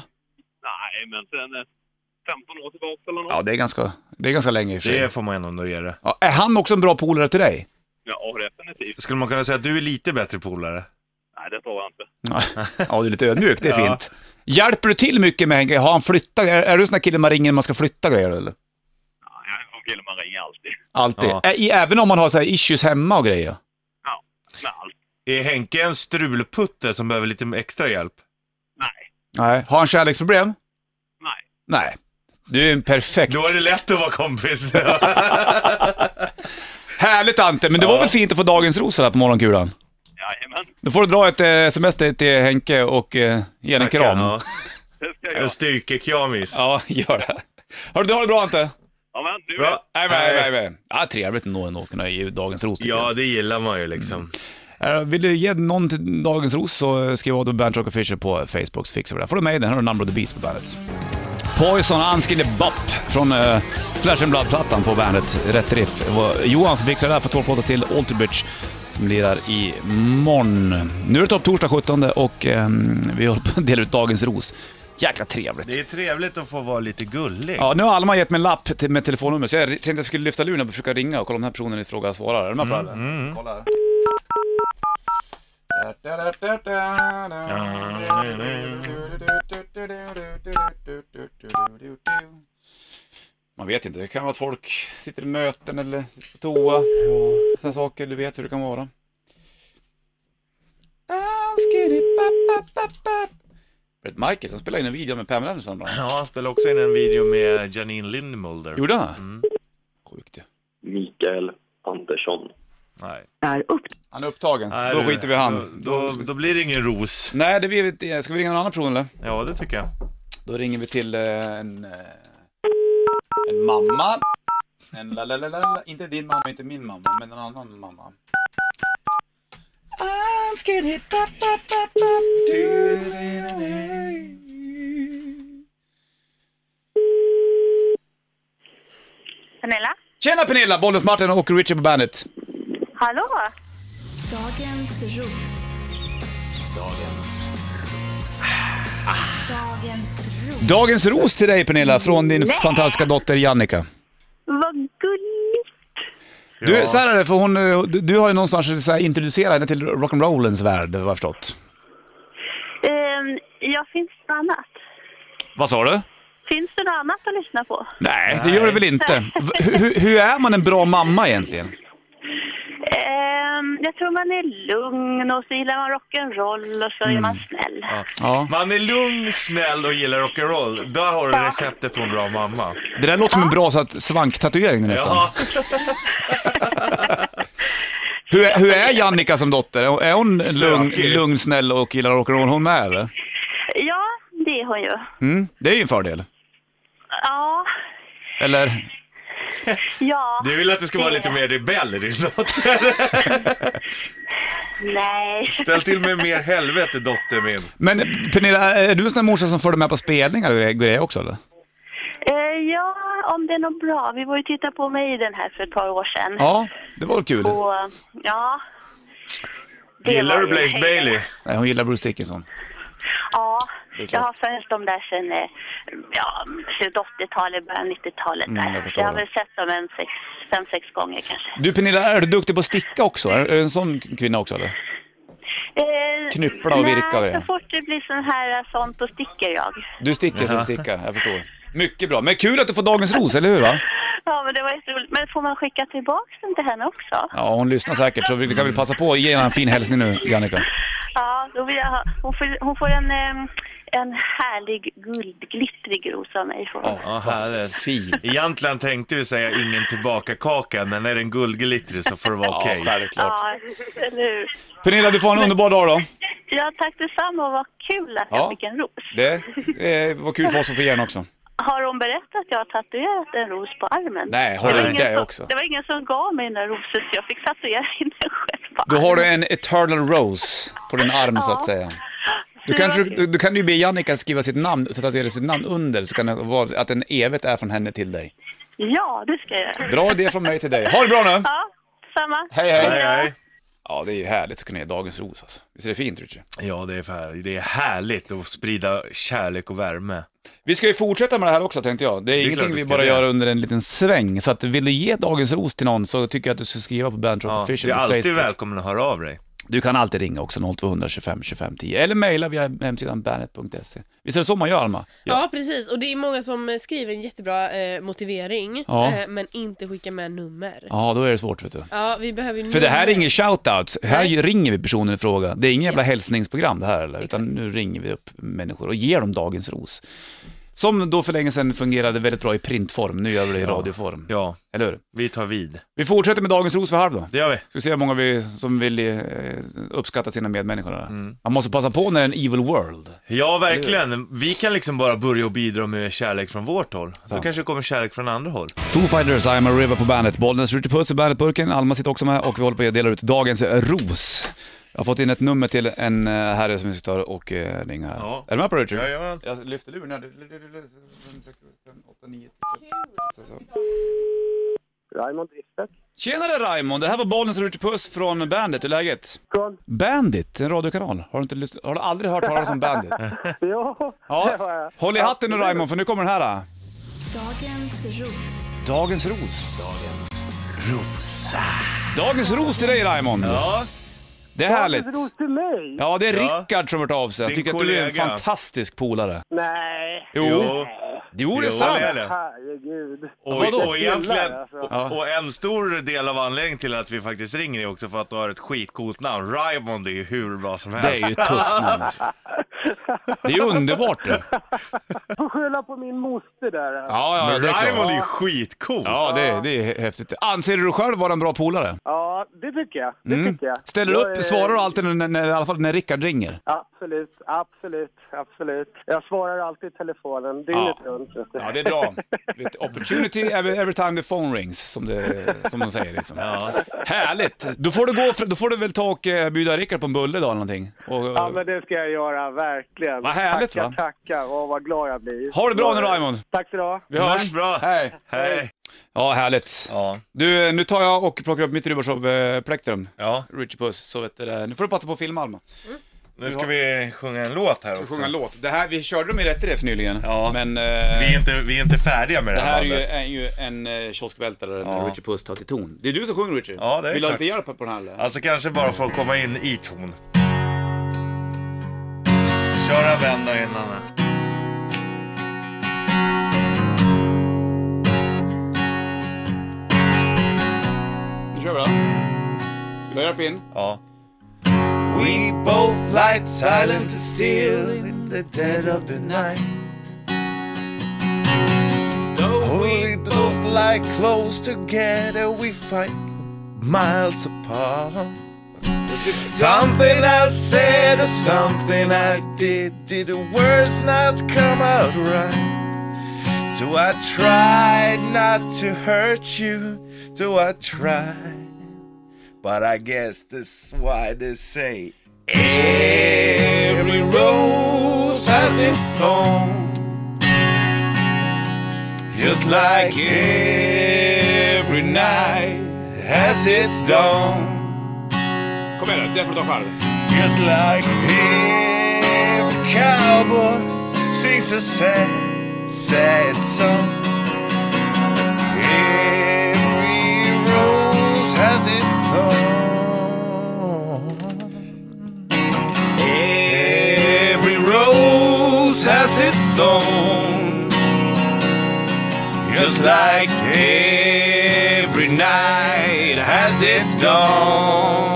[SPEAKER 3] men sen eh, 15 år tillbaka eller något.
[SPEAKER 1] Ja, det är ganska, det är ganska länge i och för sig.
[SPEAKER 2] Det får man ändå ge det.
[SPEAKER 1] Ja, är han också en bra polare till dig?
[SPEAKER 3] Ja, definitivt.
[SPEAKER 2] Skulle man kunna säga att du är lite bättre polare?
[SPEAKER 3] Nej, det tror jag inte.
[SPEAKER 1] Ja, ja du är lite ödmjuk, det är
[SPEAKER 2] Ja.
[SPEAKER 1] fint. Hjälper du till mycket med Henke? Har han flyttat? Är, är du sån där kille man ringer när man ska flytta grejer eller?
[SPEAKER 3] Ja, jag är en sån kille man ringer alltid.
[SPEAKER 1] Alltid.
[SPEAKER 2] Ja.
[SPEAKER 1] Ä- i- Även om man har så här issues hemma och grejer?
[SPEAKER 3] Ja, med allt.
[SPEAKER 2] Är Henke en strulputte som behöver lite extra hjälp?
[SPEAKER 3] Nej,
[SPEAKER 1] Nej. Har han kärleksproblem?
[SPEAKER 3] nej.
[SPEAKER 1] Nej. Du är en perfekt.
[SPEAKER 2] Då är det lätt att vara kompis.
[SPEAKER 1] Härligt Ante, men det var väl fint att få dagens ros här på morgonkulan?
[SPEAKER 3] Jajamän.
[SPEAKER 1] Då får du dra ett eh, sms till till Henke och eh, ge en kram.
[SPEAKER 2] Ja.
[SPEAKER 1] Ja.
[SPEAKER 3] Det ska jag.
[SPEAKER 2] En styrkekramis.
[SPEAKER 1] gör det. Hörru, du har det bra Ante?
[SPEAKER 3] Ja, men du
[SPEAKER 2] Bra.
[SPEAKER 3] vet.
[SPEAKER 1] Nej, nej, nej, nej. Ja, trevligt ändå ändå att kunna ge dagens ros. tycker
[SPEAKER 2] Ja, det gillar man ju liksom.
[SPEAKER 1] jag. Eh, Vill du ge någon till dagens ros så eh, skriv av då Bandrock Rock Official på Facebook så fixar vi det. får du med den. Här har du Number of the Beast på bandet. Poison Unskinny Bop från eh, Flash and Blood-plattan på bandet. Rätt riff. Det var Johan som fixade det där för två plåtar till Alterbridge som lirar imorgon. Nu är det topp torsdag 17 och eh, vi håller på att dela ut dagens ros. Jäkla trevligt.
[SPEAKER 2] Det är trevligt att få vara lite gullig.
[SPEAKER 1] Ja, nu har Alma gett mig en lapp till, med telefonnummer, så jag tänkte att jag skulle lyfta luren och försöka ringa och kolla om den här personen i fråga svarar. Är du med på det? eller? Kolla här. Man vet inte, det kan vara att folk sitter i möten eller på toa. Sådana saker, du vet hur det kan vara. Brett Michaels, han spelade in en video med Pamela Anderson bland annat.
[SPEAKER 2] Ja, han spelade också in en video med Janine Lindmulder.
[SPEAKER 1] Gjorde han?
[SPEAKER 2] Mm.
[SPEAKER 1] Sjukt ju.
[SPEAKER 8] Mikael Andersson.
[SPEAKER 2] Nej.
[SPEAKER 1] Han är upptagen.
[SPEAKER 2] Nej,
[SPEAKER 1] då
[SPEAKER 2] du,
[SPEAKER 1] skiter vi i han.
[SPEAKER 2] Då, då, då blir det ingen ros.
[SPEAKER 1] Nej, det blir vi Ska vi ringa någon annan person eller?
[SPEAKER 2] Ja, det tycker jag.
[SPEAKER 1] Då ringer vi till eh, en, eh, en mamma. En la la la la la. Inte din mamma, inte min mamma, men en annan mamma. I'm scared hit pop, pop, pop, pop. Du, du, du, du.
[SPEAKER 9] Pernilla?
[SPEAKER 1] Tjena Pernilla! Bollens Martin och Richard på bandet.
[SPEAKER 9] Hallå?
[SPEAKER 7] Dagens ros. Dagens ros.
[SPEAKER 1] Dagens ros till dig Pernilla från din fantastiska dotter Jannica.
[SPEAKER 9] Vad gulligt!
[SPEAKER 1] Du,
[SPEAKER 2] Ja.
[SPEAKER 1] så här är det, för hon, eh, du, du har ju någonstans så här introducerat henne till rock'n'rollens värld, vad jag förstått.
[SPEAKER 9] Ehm, ja, finns det något annat?
[SPEAKER 1] Vad sa du?
[SPEAKER 9] Finns det något annat att lyssna på?
[SPEAKER 1] Nej, det gör det väl inte. V- Hur, hur är man en bra mamma egentligen?
[SPEAKER 9] Ehm, jag tror man är lugn och så gillar man rock'n'roll och så
[SPEAKER 1] Mm.
[SPEAKER 9] är man snäll.
[SPEAKER 1] Ja.
[SPEAKER 2] Man är lugn, snäll och gillar rock'n'roll. Där har du receptet på en bra mamma.
[SPEAKER 1] Det där låter som en bra så att, svanktatuering nästan.
[SPEAKER 2] Ja,
[SPEAKER 1] Hur, är- hur är Jannica som dotter? Är hon lugn,
[SPEAKER 2] Stökig.
[SPEAKER 1] lugn snäll och gillar rock'n'roll hon med eller?
[SPEAKER 9] Ja, det är hon ju.
[SPEAKER 1] Mm, det är ju en fördel.
[SPEAKER 9] Ja,
[SPEAKER 1] Eller?
[SPEAKER 9] ja,
[SPEAKER 2] du vill att det ska vara lite mer rebell i din dotter.
[SPEAKER 9] nej.
[SPEAKER 2] Ställ till med mer helvete, dotter min.
[SPEAKER 1] Men Pernilla, är du en sån där morsa som följer med på spelningar och grejer också eller?
[SPEAKER 9] Ehm, ja, om det är något bra. Vi var ju titta på mig i den här för ett par år sedan.
[SPEAKER 1] Ja, det var väl kul.
[SPEAKER 9] Och, ja. Det
[SPEAKER 2] Gillar
[SPEAKER 9] var
[SPEAKER 2] du
[SPEAKER 9] ju
[SPEAKER 2] Blaze
[SPEAKER 9] hej.
[SPEAKER 2] Bailey?
[SPEAKER 1] Nej, hon gillar Bruce Dickinson.
[SPEAKER 9] Ja,
[SPEAKER 1] är klart.
[SPEAKER 9] jag har följt dem där sen eh, ja, slutet av 80-talet, början av 90-talet.
[SPEAKER 1] Mm, jag
[SPEAKER 9] där. så
[SPEAKER 1] förstår
[SPEAKER 9] jag har
[SPEAKER 1] det.
[SPEAKER 9] väl sett dem en sex, fem, sex gånger kanske.
[SPEAKER 1] Du Pernilla, är du duktig på att sticka också? Är är du en sån kvinna också eller?
[SPEAKER 9] Eh,
[SPEAKER 1] Knyppla och virka och
[SPEAKER 9] Nej,
[SPEAKER 1] grejer.
[SPEAKER 9] så fort det blir sån här eh, sånt då sticker jag.
[SPEAKER 1] Du sticker som stickar, jag förstår. Mycket bra. Men kul att du får dagens ros, eller hur? Va?
[SPEAKER 9] Ja, men det var jätteroligt. Men får man skicka tillbaka den till henne också?
[SPEAKER 1] Ja, hon lyssnar säkert, så vi kan väl passa på att ge henne en fin hälsning nu, Jannica.
[SPEAKER 9] Ja, då vill jag ha, hon, får, hon får en, eh, en härlig guldglittrig ros av mig. Får hon.
[SPEAKER 2] Ja, härligt.
[SPEAKER 1] Fin.
[SPEAKER 2] Egentligen tänkte vi säga ingen tillbaka-kaka, men är den guldglittrig så får det vara okej.
[SPEAKER 1] självklart.
[SPEAKER 9] Ja, eller hur?
[SPEAKER 1] Pernilla, du får ha en underbar dag då.
[SPEAKER 9] Ja, tack detsamma. Vad kul att
[SPEAKER 1] Ja.
[SPEAKER 9] jag fick en ros.
[SPEAKER 1] Det eh, var kul för oss att få ge henne också.
[SPEAKER 9] Har hon berättat att jag har tatuerat en ros på armen?
[SPEAKER 1] Nej, har
[SPEAKER 9] Det var
[SPEAKER 1] du
[SPEAKER 9] ingen
[SPEAKER 1] det
[SPEAKER 9] som,
[SPEAKER 1] också?
[SPEAKER 9] Det var ingen som gav mig den där rosen så jag fick tatuera in den själv på
[SPEAKER 1] Då
[SPEAKER 9] armen.
[SPEAKER 1] har du en eternal rose på din arm, så att säga. Du,
[SPEAKER 9] Det var
[SPEAKER 1] kanske,
[SPEAKER 9] kul.
[SPEAKER 1] du, du kan ju be Jannica skriva sitt namn, tatuera sitt namn under, så kan det vara att den evigt är från henne till dig.
[SPEAKER 9] Ja, det ska jag göra.
[SPEAKER 1] Bra idé från mig till dig. Ha det bra nu!
[SPEAKER 9] Ja, samma.
[SPEAKER 1] Mm. Hej, hej!
[SPEAKER 2] Hej, hej.
[SPEAKER 1] Ja, det är ju härligt att kunna ge dagens ros alltså. Visst är det fint, Richie?
[SPEAKER 2] Ja, det är, för, det är härligt att sprida kärlek och värme.
[SPEAKER 1] Vi ska ju fortsätta med det här också tänkte jag. Det är,
[SPEAKER 2] klart
[SPEAKER 1] ingenting
[SPEAKER 2] vi
[SPEAKER 1] vi
[SPEAKER 2] ska
[SPEAKER 1] bara
[SPEAKER 2] det.
[SPEAKER 1] gör under en liten sväng. Så att vill du ge dagens ros till någon så tycker jag att du ska skriva på Bandrock
[SPEAKER 2] Ja, du
[SPEAKER 1] Official
[SPEAKER 2] är
[SPEAKER 1] på
[SPEAKER 2] alltid
[SPEAKER 1] Facebook.
[SPEAKER 2] välkommen att höra av dig.
[SPEAKER 1] Du kan alltid ringa också, 0200 25 25 10. Eller mejla via hemsidan bandet.se. Visst är det så man gör, Alma?
[SPEAKER 4] Ja, precis. Och det är många som eh, skriver en jättebra eh, motivering,
[SPEAKER 1] Ja.
[SPEAKER 4] eh, men inte skickar med nummer. Ja,
[SPEAKER 1] Ja, då är det svårt vet du.
[SPEAKER 4] vi behöver ju
[SPEAKER 1] För det här är
[SPEAKER 4] nummer.
[SPEAKER 1] ingen shoutout, här
[SPEAKER 4] Nej.
[SPEAKER 1] ringer vi personen i fråga. Det är ingen jävla
[SPEAKER 4] Ja.
[SPEAKER 1] hälsningsprogram det här eller, utan nu ringer vi upp människor och ger dem dagens ros. Som då för länge sedan fungerade väldigt bra i printform, nu gör vi det i radioform.
[SPEAKER 2] Ja,
[SPEAKER 1] Eller hur?
[SPEAKER 2] vi tar vid.
[SPEAKER 1] Vi fortsätter med dagens ros för halv då.
[SPEAKER 2] Det gör vi.
[SPEAKER 1] Ska se hur många vi, som vill eh, uppskatta sina medmänniskor. där.
[SPEAKER 2] Mm.
[SPEAKER 1] Man måste passa på när det är en evil world.
[SPEAKER 2] Ja, verkligen. Vi kan liksom bara börja och bidra med kärlek från vårt håll. Då
[SPEAKER 1] Sant.
[SPEAKER 2] kanske det kommer kärlek från andra håll.
[SPEAKER 1] Foo Fighters, I'm a River på bandet. Bollnäs skjuter puss i bandetburken, Alma sitter också med och vi håller på att dela ut dagens ros. Jag har fått in ett nummer till en eh, herre som vi ska ta och eh, ringa här.
[SPEAKER 2] Ja.
[SPEAKER 1] Är du med på det Richard?
[SPEAKER 2] Jajamän.
[SPEAKER 1] Jag lyfter luren här. Fem, sex, sju, fem, åtta, nio, tio, så, så.
[SPEAKER 5] Raymond Ristbäck.
[SPEAKER 1] Tjenare Raymond, det här var Bollnäs skjuter puss från bandet. Hur är läget?
[SPEAKER 5] Från?
[SPEAKER 1] Bandit, en radiokanal. Har du, inte, lyssnat- har du aldrig hört talas om Bandit?
[SPEAKER 5] Ja, det har
[SPEAKER 1] Ja.
[SPEAKER 5] jag.
[SPEAKER 1] Håll i hatten nu Raymond, för nu kommer den här. då.
[SPEAKER 7] Dagens ros.
[SPEAKER 1] Dagens ros. Dagens rosa. Dagens ros till dig Raymond.
[SPEAKER 2] Ja,
[SPEAKER 1] Det är härligt.
[SPEAKER 5] Dagens ros till mig?
[SPEAKER 1] Ja, det är
[SPEAKER 2] Ja.
[SPEAKER 1] Rickard som har hört av sig. Jag
[SPEAKER 2] Din
[SPEAKER 1] tycker att du är en
[SPEAKER 2] kollega.
[SPEAKER 1] fantastisk polare.
[SPEAKER 5] Nej,
[SPEAKER 1] Jo,
[SPEAKER 2] jo.
[SPEAKER 1] jo det är
[SPEAKER 2] Jo,
[SPEAKER 1] sant.
[SPEAKER 2] det är det.
[SPEAKER 5] herregud.
[SPEAKER 2] Och,
[SPEAKER 1] Vadå?
[SPEAKER 2] och, egentligen,
[SPEAKER 5] Killar, alltså.
[SPEAKER 2] och, och en stor del av anledningen till att vi faktiskt ringer är också för att du har ett skitcoolt namn. Raymond är ju hur bra som
[SPEAKER 1] Det
[SPEAKER 2] helst.
[SPEAKER 1] är ju tufft namn. alltså. Det är ju underbart det.
[SPEAKER 5] Du får skylla på min moster där. Ja,
[SPEAKER 1] Ja, ja,
[SPEAKER 2] Men
[SPEAKER 1] det är
[SPEAKER 2] Raymond
[SPEAKER 1] klart.
[SPEAKER 2] är ju skitcool.
[SPEAKER 1] Ja, det är, det är häftigt. Anser du själv vara en bra polare?
[SPEAKER 5] det tycker jag. Det tycker jag.
[SPEAKER 1] Ställer du
[SPEAKER 5] Jag är-
[SPEAKER 1] upp, svarar du alltid, när, när, i alla fall när Rickard ringer?
[SPEAKER 5] Absolut, absolut, absolut. Jag svarar alltid i telefonen, dygnet
[SPEAKER 1] Ja.
[SPEAKER 5] runt. vet du.
[SPEAKER 1] Ja, det är bra. Vet, opportunity every, every time the phone rings, som, det, som de säger. Liksom. Härligt! Då får, du gå, fr- då får du väl ta och eh, bjuda Rickard på en bulle idag eller någonting. Och,
[SPEAKER 5] Ja, men det ska jag göra, verkligen.
[SPEAKER 1] Vad härligt,
[SPEAKER 5] tackar,
[SPEAKER 1] va?
[SPEAKER 5] Tackar, Åh, vad glad jag blir.
[SPEAKER 1] Ha det bra nu, Raymond.
[SPEAKER 5] Tack så du ha.
[SPEAKER 1] vi hörs!
[SPEAKER 2] Hörs bra.
[SPEAKER 1] Hej!
[SPEAKER 2] Hej.
[SPEAKER 1] Ja, härligt.
[SPEAKER 2] Ja.
[SPEAKER 1] Du, nu tar jag och plockar upp mitt Rubbershov-plektrum.
[SPEAKER 2] ja,
[SPEAKER 1] Richie Puss, så vet du det. Nu får du passa på att filma Alma.
[SPEAKER 2] nu ska vi sjunga en låt här
[SPEAKER 1] Du
[SPEAKER 2] också.
[SPEAKER 1] sjunger en låt. Det här, vi körde dem i rätt riff nyligen.
[SPEAKER 2] Ja.
[SPEAKER 1] Men eh,
[SPEAKER 2] Vi är inte, vi är inte färdiga med det
[SPEAKER 1] det här
[SPEAKER 2] här
[SPEAKER 1] är ju,
[SPEAKER 2] bandet.
[SPEAKER 1] är ju en eh, kioskvältare när
[SPEAKER 2] Ja.
[SPEAKER 1] Richie Puss tar till ton. Det är du som sjunger Richie.
[SPEAKER 2] Ja, det är
[SPEAKER 1] Vill du ha
[SPEAKER 2] klart.
[SPEAKER 1] lite hjälp på den här eller?
[SPEAKER 2] Alltså kanske bara för att komma in i ton. Kör en vända innan.
[SPEAKER 1] Nu kör vi då. Vill du ha hjälp in?
[SPEAKER 2] Ja. We both light silence is still in the dead of the night. Though we both lie close together, we fight miles apart. Something I said or something I did, did the words not come out right? So I tried not to hurt you, so I tried. But I guess that's why they say every rose has its thorn. Just like every night has its dawn.
[SPEAKER 1] Kom igen nu, den får du ta själv.
[SPEAKER 2] Just like every cowboy sings a sad, sad song. Every rose has its thorn. Every rose has its thorn. Just like every night has its dawn.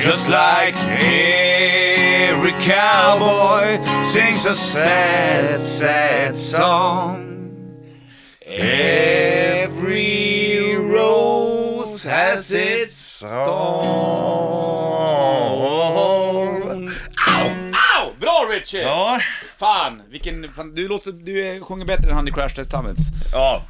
[SPEAKER 2] Just like every cowboy sings a sad, sad song. Every rose has its song.
[SPEAKER 1] Au! Bra Richie!
[SPEAKER 2] Ja,
[SPEAKER 1] Fan, vilken... Fan, du, låter, du är, sjunger bättre än han i Crash Test Summits.
[SPEAKER 2] ja.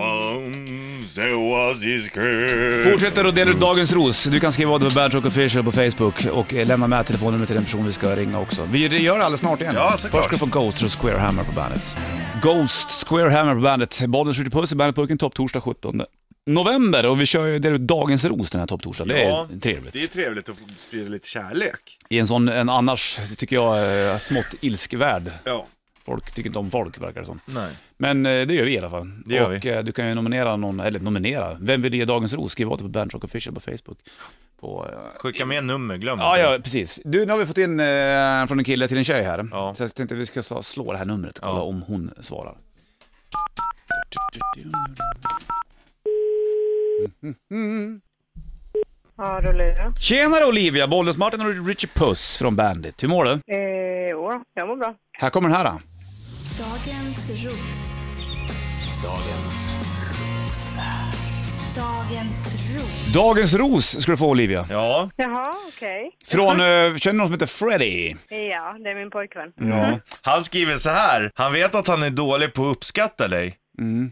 [SPEAKER 2] Once there was this girl.
[SPEAKER 1] Mm. Fortsätter att dela ut dagens ros. Du kan skriva vad du på Bandrock Official på Facebook och eh, lämna med telefonnumret till den person vi ska ringa också. Vi gör det alldeles snart igen.
[SPEAKER 2] Ja, såklart.
[SPEAKER 1] Först ska du få Ghost och Square Hammer på bandet. Ghost, Square Hammer på bandet. Bollen skjuter puss i Bandetburken topp torsdag 17 november och vi kör ju delar ut dagens ros den här topp torsdag. Det är
[SPEAKER 2] Ja,
[SPEAKER 1] trevligt.
[SPEAKER 2] Det är trevligt att få sprida lite kärlek.
[SPEAKER 1] I en sån, en annars, tycker jag, eh, smått ilskvärld.
[SPEAKER 2] Ja.
[SPEAKER 1] Folk tycker inte om folk verkar det som.
[SPEAKER 2] Nej.
[SPEAKER 1] Men eh, det gör vi i alla fall.
[SPEAKER 2] Det gör
[SPEAKER 1] och eh, du kan ju nominera någon, eller nominera, vem vill ge Dagens Ros? Skriv åt det på Bandrock Official på Facebook. På, eh,
[SPEAKER 2] Skicka med nummer, glöm
[SPEAKER 1] Ja,
[SPEAKER 2] inte.
[SPEAKER 1] ja, precis. Du, nu har vi fått in eh, från en kille till en tjej här.
[SPEAKER 2] Ja.
[SPEAKER 1] Så jag tänkte att vi ska slå, slå det här numret och kolla
[SPEAKER 2] Ja.
[SPEAKER 1] om hon svarar.
[SPEAKER 6] Ja, då lurar jag.
[SPEAKER 1] Tjenare Olivia! Bollnäs Martin och Richie Puss från Bandit. Hur mår du?
[SPEAKER 6] Eh, jo då. Ja, jag mår bra.
[SPEAKER 1] Här kommer den här. Då.
[SPEAKER 7] Dagens ros. Dagens ros.
[SPEAKER 1] Dagens ros ska du få Olivia.
[SPEAKER 2] Ja,
[SPEAKER 6] Jaha, okej.
[SPEAKER 1] Från, eh, känner du någon som heter Freddy?
[SPEAKER 6] Ja, det är min pojkvän.
[SPEAKER 1] Ja.
[SPEAKER 2] han skriver så här. Han vet att han är dålig på att uppskatta dig.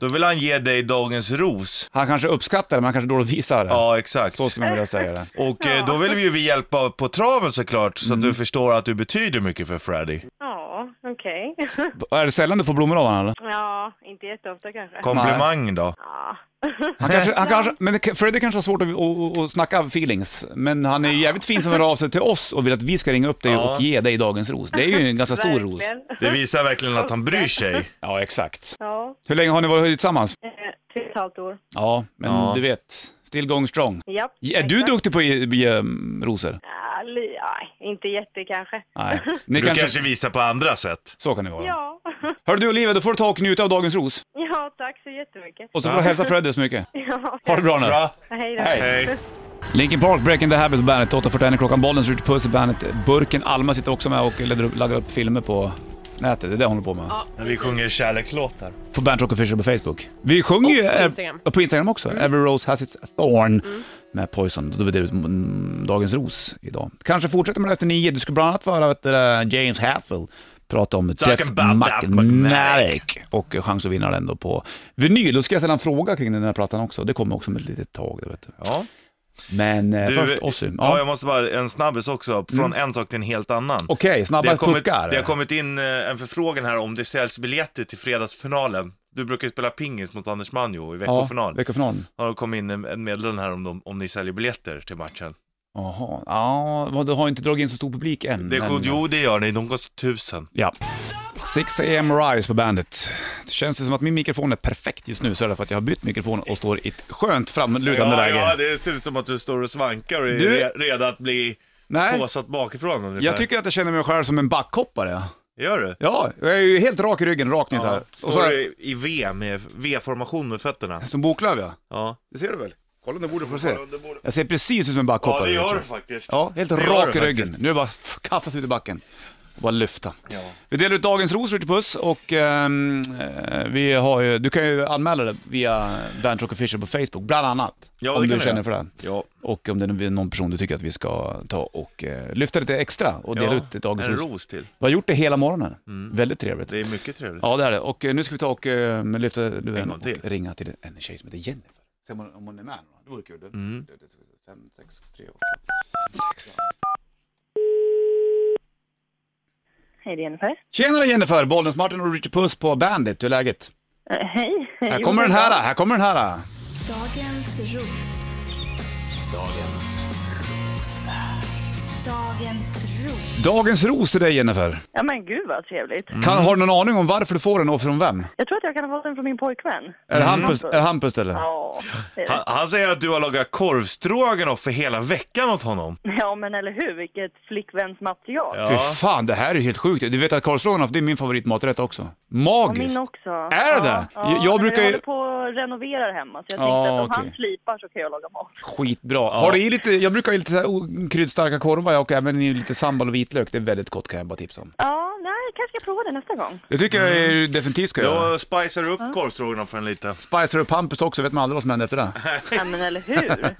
[SPEAKER 2] Då vill han ge dig dagens ros.
[SPEAKER 1] Han kanske uppskattar det, men han kanske dåligt visar det.
[SPEAKER 2] Ja, exakt.
[SPEAKER 1] Så skulle man vilja säga det.
[SPEAKER 2] Och eh, då vill vi ju vi hjälpa på traven såklart, så att du förstår att du betyder mycket för Freddy.
[SPEAKER 6] Ja, okej.
[SPEAKER 1] Är det sällan du får blommor av honom eller?
[SPEAKER 6] ja, inte jätteofta kanske.
[SPEAKER 2] Komplimang då.
[SPEAKER 6] Ja.
[SPEAKER 1] Han kanske, han kanske, men Freddy kanske har svårt att, att, att snacka feelings, men han är ju jävligt fin som hör av sig till oss och vill att vi ska ringa upp dig
[SPEAKER 2] Ja.
[SPEAKER 1] och ge dig dagens ros. Det är ju en ganska stor ros.
[SPEAKER 6] Verkligen.
[SPEAKER 2] Det visar verkligen att han bryr sig.
[SPEAKER 1] Ja, exakt.
[SPEAKER 6] Ja,
[SPEAKER 1] Hur länge har ni varit tillsammans?
[SPEAKER 6] eh, tre och ett halvt år.
[SPEAKER 1] Ja, men
[SPEAKER 2] Ja.
[SPEAKER 1] du vet, still going strong.
[SPEAKER 6] Japp.
[SPEAKER 1] Är du
[SPEAKER 6] exakt.
[SPEAKER 1] duktig på att ge- ge um, rosor?
[SPEAKER 6] Ja, li- ja, inte jätte kanske.
[SPEAKER 1] Nej. Ni
[SPEAKER 2] Du
[SPEAKER 1] kanske...
[SPEAKER 2] kanske visar på andra sätt.
[SPEAKER 1] Så kan det vara.
[SPEAKER 6] Ja.
[SPEAKER 1] Hör du Olivia, då får du ta och njuta av dagens ros.
[SPEAKER 6] ja, tack så jättemycket.
[SPEAKER 1] Och så får du hälsa Freddy så mycket.
[SPEAKER 6] Ja.
[SPEAKER 1] Ha det bra nu.
[SPEAKER 2] Bra,
[SPEAKER 6] Hej då.
[SPEAKER 1] Hej.
[SPEAKER 2] hej.
[SPEAKER 1] Linkin Park, Breaking the Habit på bandet. 8.41 är klockan, bollen slutar puss i bandet. Burken Alma sitter också med och laddar upp, laddar upp filmer på nätet. Det är det hon håller på med.
[SPEAKER 2] När vi sjunger kärlekslåtar.
[SPEAKER 1] På Bandit Rock Official på Facebook. Vi sjunger
[SPEAKER 4] Och
[SPEAKER 1] ju...
[SPEAKER 4] på
[SPEAKER 1] eh,
[SPEAKER 4] Instagram. Mm.
[SPEAKER 1] och på Instagram också. Every Rose Has Its Thorn med Poison. Då var det mm, Dagens Ros idag. Kanske fortsätter med det efter nio. Du skulle bland annat få höra vet du, eh, James Hatfield prata om
[SPEAKER 2] Talking
[SPEAKER 1] Death
[SPEAKER 2] about Death
[SPEAKER 1] Magnetic och eh, chans att vinna den då på vinyl. Då ska jag ställa en fråga kring den här plattan också. Det kommer också om ett litet tag. Det vet du.
[SPEAKER 2] Ja.
[SPEAKER 1] Men eh,
[SPEAKER 2] Du,
[SPEAKER 1] först Ozzy.
[SPEAKER 2] Ja,
[SPEAKER 1] Ja.
[SPEAKER 2] jag måste bara, en snabbis också, från en sak till en helt annan.
[SPEAKER 1] Okej,
[SPEAKER 2] det, har
[SPEAKER 1] snabba
[SPEAKER 2] kommit,
[SPEAKER 1] puckar.
[SPEAKER 2] det har kommit in eh, en förfrågan här om det säljs biljetter till fredagsfinalen. Du brukar ju spela pingis mot Anders Manjo
[SPEAKER 1] Ja,
[SPEAKER 2] i veckofinal.
[SPEAKER 1] veckofinalen.
[SPEAKER 2] Har det kommit in en- en meddelande här om, de, om ni säljer biljetter till matchen.
[SPEAKER 1] Jaha, ja, vad, du har inte dragit in så stor publik än.
[SPEAKER 2] Det är
[SPEAKER 1] men-
[SPEAKER 2] sjukt, jo det gör ni, de kostar tusen.
[SPEAKER 1] Ja. 6 AM Rise på bandet. Det känns ju som att min mikrofon är perfekt just nu, så är det för att jag har bytt mikrofon och står i ett skönt framlutande
[SPEAKER 2] Ja,
[SPEAKER 1] läge.
[SPEAKER 2] ja, det ser ut som att du står och svankar och är
[SPEAKER 1] Du-
[SPEAKER 2] re- redo att bli
[SPEAKER 1] Nej,
[SPEAKER 2] påsatt bakifrån ungefär.
[SPEAKER 1] jag tycker att jag känner mig själv som en backhoppare.
[SPEAKER 2] Gör du?
[SPEAKER 1] Ja, jag är ju helt rak i ryggen, rakt ner så här.
[SPEAKER 2] Ja,
[SPEAKER 1] Och
[SPEAKER 2] står
[SPEAKER 1] så här,
[SPEAKER 2] du i V med V-formation med fötterna.
[SPEAKER 1] som boklöv ja.
[SPEAKER 2] Ja.
[SPEAKER 1] Det ser du väl? Kolla under bordet får du se.
[SPEAKER 2] Kolla under bordet.
[SPEAKER 1] Jag ser precis ut som en backhoppare.
[SPEAKER 2] ja, det
[SPEAKER 1] vet
[SPEAKER 2] gör
[SPEAKER 1] du.
[SPEAKER 2] du faktiskt.
[SPEAKER 1] Ja, helt
[SPEAKER 2] Det gör
[SPEAKER 1] rak
[SPEAKER 2] du
[SPEAKER 1] i ryggen.
[SPEAKER 2] faktiskt.
[SPEAKER 1] Nu är det bara f- kastas ut i backen. Och bara lyfta. Vi delar ut dagens rosor till puss och ehm, eh, vi har ju, du kan ju anmäla det via Bernt Rock Official på Facebook, bland annat.
[SPEAKER 2] Ja, det
[SPEAKER 1] om
[SPEAKER 2] kan
[SPEAKER 1] du
[SPEAKER 2] du
[SPEAKER 1] känner
[SPEAKER 2] göra.
[SPEAKER 1] för det.
[SPEAKER 2] Ja.
[SPEAKER 1] Och om det är någon person du tycker att vi ska ta och eh, lyfta lite extra och dela ut dagens
[SPEAKER 2] en
[SPEAKER 1] ros.
[SPEAKER 2] ros till.
[SPEAKER 1] Vi har gjort det hela morgonen. Väldigt trevligt.
[SPEAKER 2] Mm. Det är mycket trevligt.
[SPEAKER 1] Ja, det är det. Och eh, nu ska vi ta och eh, lyfta luren
[SPEAKER 2] gång
[SPEAKER 1] och
[SPEAKER 2] till.
[SPEAKER 1] ringa till en tjej som heter Jennifer. Se om hon, om hon är med. Det vore kul.
[SPEAKER 2] Mm.
[SPEAKER 1] Det- det- det- Fem, sex, tre, åtta.
[SPEAKER 6] Hej, det är Jennifer.
[SPEAKER 1] Tjenare Jennifer! Bollnäs Martin och Richard Puss på Bandit. Hur är läget?
[SPEAKER 6] Eh, hej.
[SPEAKER 1] Här kommer den här, här kommer den här.
[SPEAKER 7] Dagens ros. Dagens ros.
[SPEAKER 1] Dagens ros till dig Jennifer.
[SPEAKER 6] Ja, men gud vad trevligt.
[SPEAKER 1] Kan, har du någon aning om varför du får den och från vem?
[SPEAKER 6] Jag tror att jag kan ha fått den från min pojkvän.
[SPEAKER 1] Är det Hampus, är det Hampus eller?
[SPEAKER 6] Ja,
[SPEAKER 2] Han, han säger att du har lagat korvstroganoff för hela veckan åt honom.
[SPEAKER 6] ja men eller hur? Vilket flickvänsmaterial.
[SPEAKER 1] Fy
[SPEAKER 2] Ja.
[SPEAKER 1] fan, det här är ju helt sjukt. Du vet att korvstroganoff, det är min favoritmaträtt också.
[SPEAKER 6] Ja,
[SPEAKER 1] Magiskt!
[SPEAKER 6] min också.
[SPEAKER 1] Är det det? Jag- jag brukar ju-
[SPEAKER 6] Jag håller på och renoverar hemma så jag tänkte
[SPEAKER 1] Ja,
[SPEAKER 6] att om
[SPEAKER 1] okej.
[SPEAKER 6] han slipar så kan jag laga mat.
[SPEAKER 1] Skitbra. Har du i lite, jag brukar ha i lite så här o- kryddstarka korvar och även i lite sambal och vitlök. Det är väldigt gott kan jag bara tipsa om.
[SPEAKER 6] Ja, nej, jag kanske ska prova det nästa gång.
[SPEAKER 1] Det tycker jag är definitivt ska jag göra.
[SPEAKER 2] Då spicar du upp korvstroganoffen lite.
[SPEAKER 1] Spicer upp Hampus också, vet man aldrig vad som händer efter det.
[SPEAKER 6] Ja, men eller hur?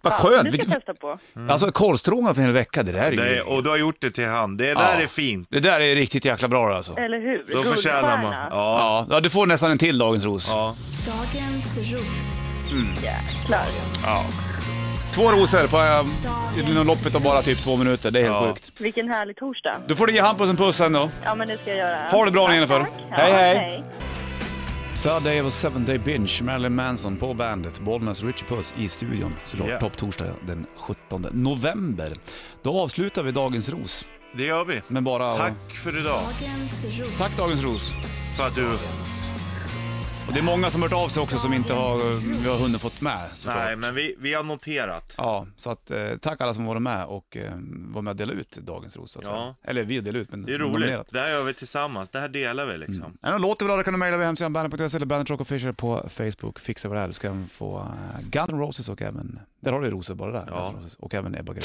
[SPEAKER 1] Vad
[SPEAKER 6] Ja,
[SPEAKER 1] skönt!
[SPEAKER 6] det ska
[SPEAKER 1] Vilket,
[SPEAKER 6] jag testa på.
[SPEAKER 1] Alltså korvstroganoff för en hel vecka, det där är ju...
[SPEAKER 2] Det, och du har gjort det till han. Det där
[SPEAKER 1] Ja.
[SPEAKER 2] är fint.
[SPEAKER 1] Det där är riktigt jäkla bra alltså.
[SPEAKER 6] Eller hur?
[SPEAKER 2] Då förtjänar man.
[SPEAKER 6] Guldstjärna.
[SPEAKER 1] Ja,
[SPEAKER 2] Ja.
[SPEAKER 1] ja, du får nästan en till Dagens Ros.
[SPEAKER 2] ja.
[SPEAKER 7] Dagens ros.
[SPEAKER 6] Klar.
[SPEAKER 1] Två rosor på
[SPEAKER 7] Dagens
[SPEAKER 1] eh, inom loppet av bara typ två minuter, det är helt
[SPEAKER 2] Ja.
[SPEAKER 1] sjukt.
[SPEAKER 6] Vilken härlig torsdag.
[SPEAKER 1] Då får du ge Hampus en puss sen då.
[SPEAKER 6] Ja, men det ska jag göra.
[SPEAKER 1] Ha det bra, Jennifer.
[SPEAKER 6] Tack. Ja,
[SPEAKER 1] Hej, hej.
[SPEAKER 6] hej.
[SPEAKER 1] Third Day of a Seven Day Binge, Marilyn Manson på bandet, Bollnäs Richie Puss i studion. Såklart
[SPEAKER 2] Ja.
[SPEAKER 1] yeah. topptorsdag den 17 november. Då avslutar vi Dagens Ros
[SPEAKER 2] Det gör vi.
[SPEAKER 1] med bara...
[SPEAKER 2] Tack för idag.
[SPEAKER 7] Dagens ros.
[SPEAKER 1] Tack Dagens Ros.
[SPEAKER 2] För att du...
[SPEAKER 1] Och det är många som har hört av sig också som inte har, eh, vi har hunnit fått med såklart.
[SPEAKER 2] Nej, men vi, vi har noterat.
[SPEAKER 1] Ja, så att eh, tack alla som varit med och eh, var med och delade ut Dagens Ros. så att
[SPEAKER 2] Ja.
[SPEAKER 1] säga. Eller vi delade ut, men
[SPEAKER 2] Det är
[SPEAKER 1] nominerat. Mm.
[SPEAKER 2] roligt. Det här gör vi tillsammans. Det här delar vi liksom.
[SPEAKER 1] Är det någon låt du vill ha då kan du mejla via hemsidan bandet.se eller bandet Rock Official på Facebook. Fixa vad det är. Du ska även få eh, Guns N' Roses och även, där har du ju rosor bara där.
[SPEAKER 2] Ja.
[SPEAKER 1] Guns N' Roses. Och även Ebba Grön.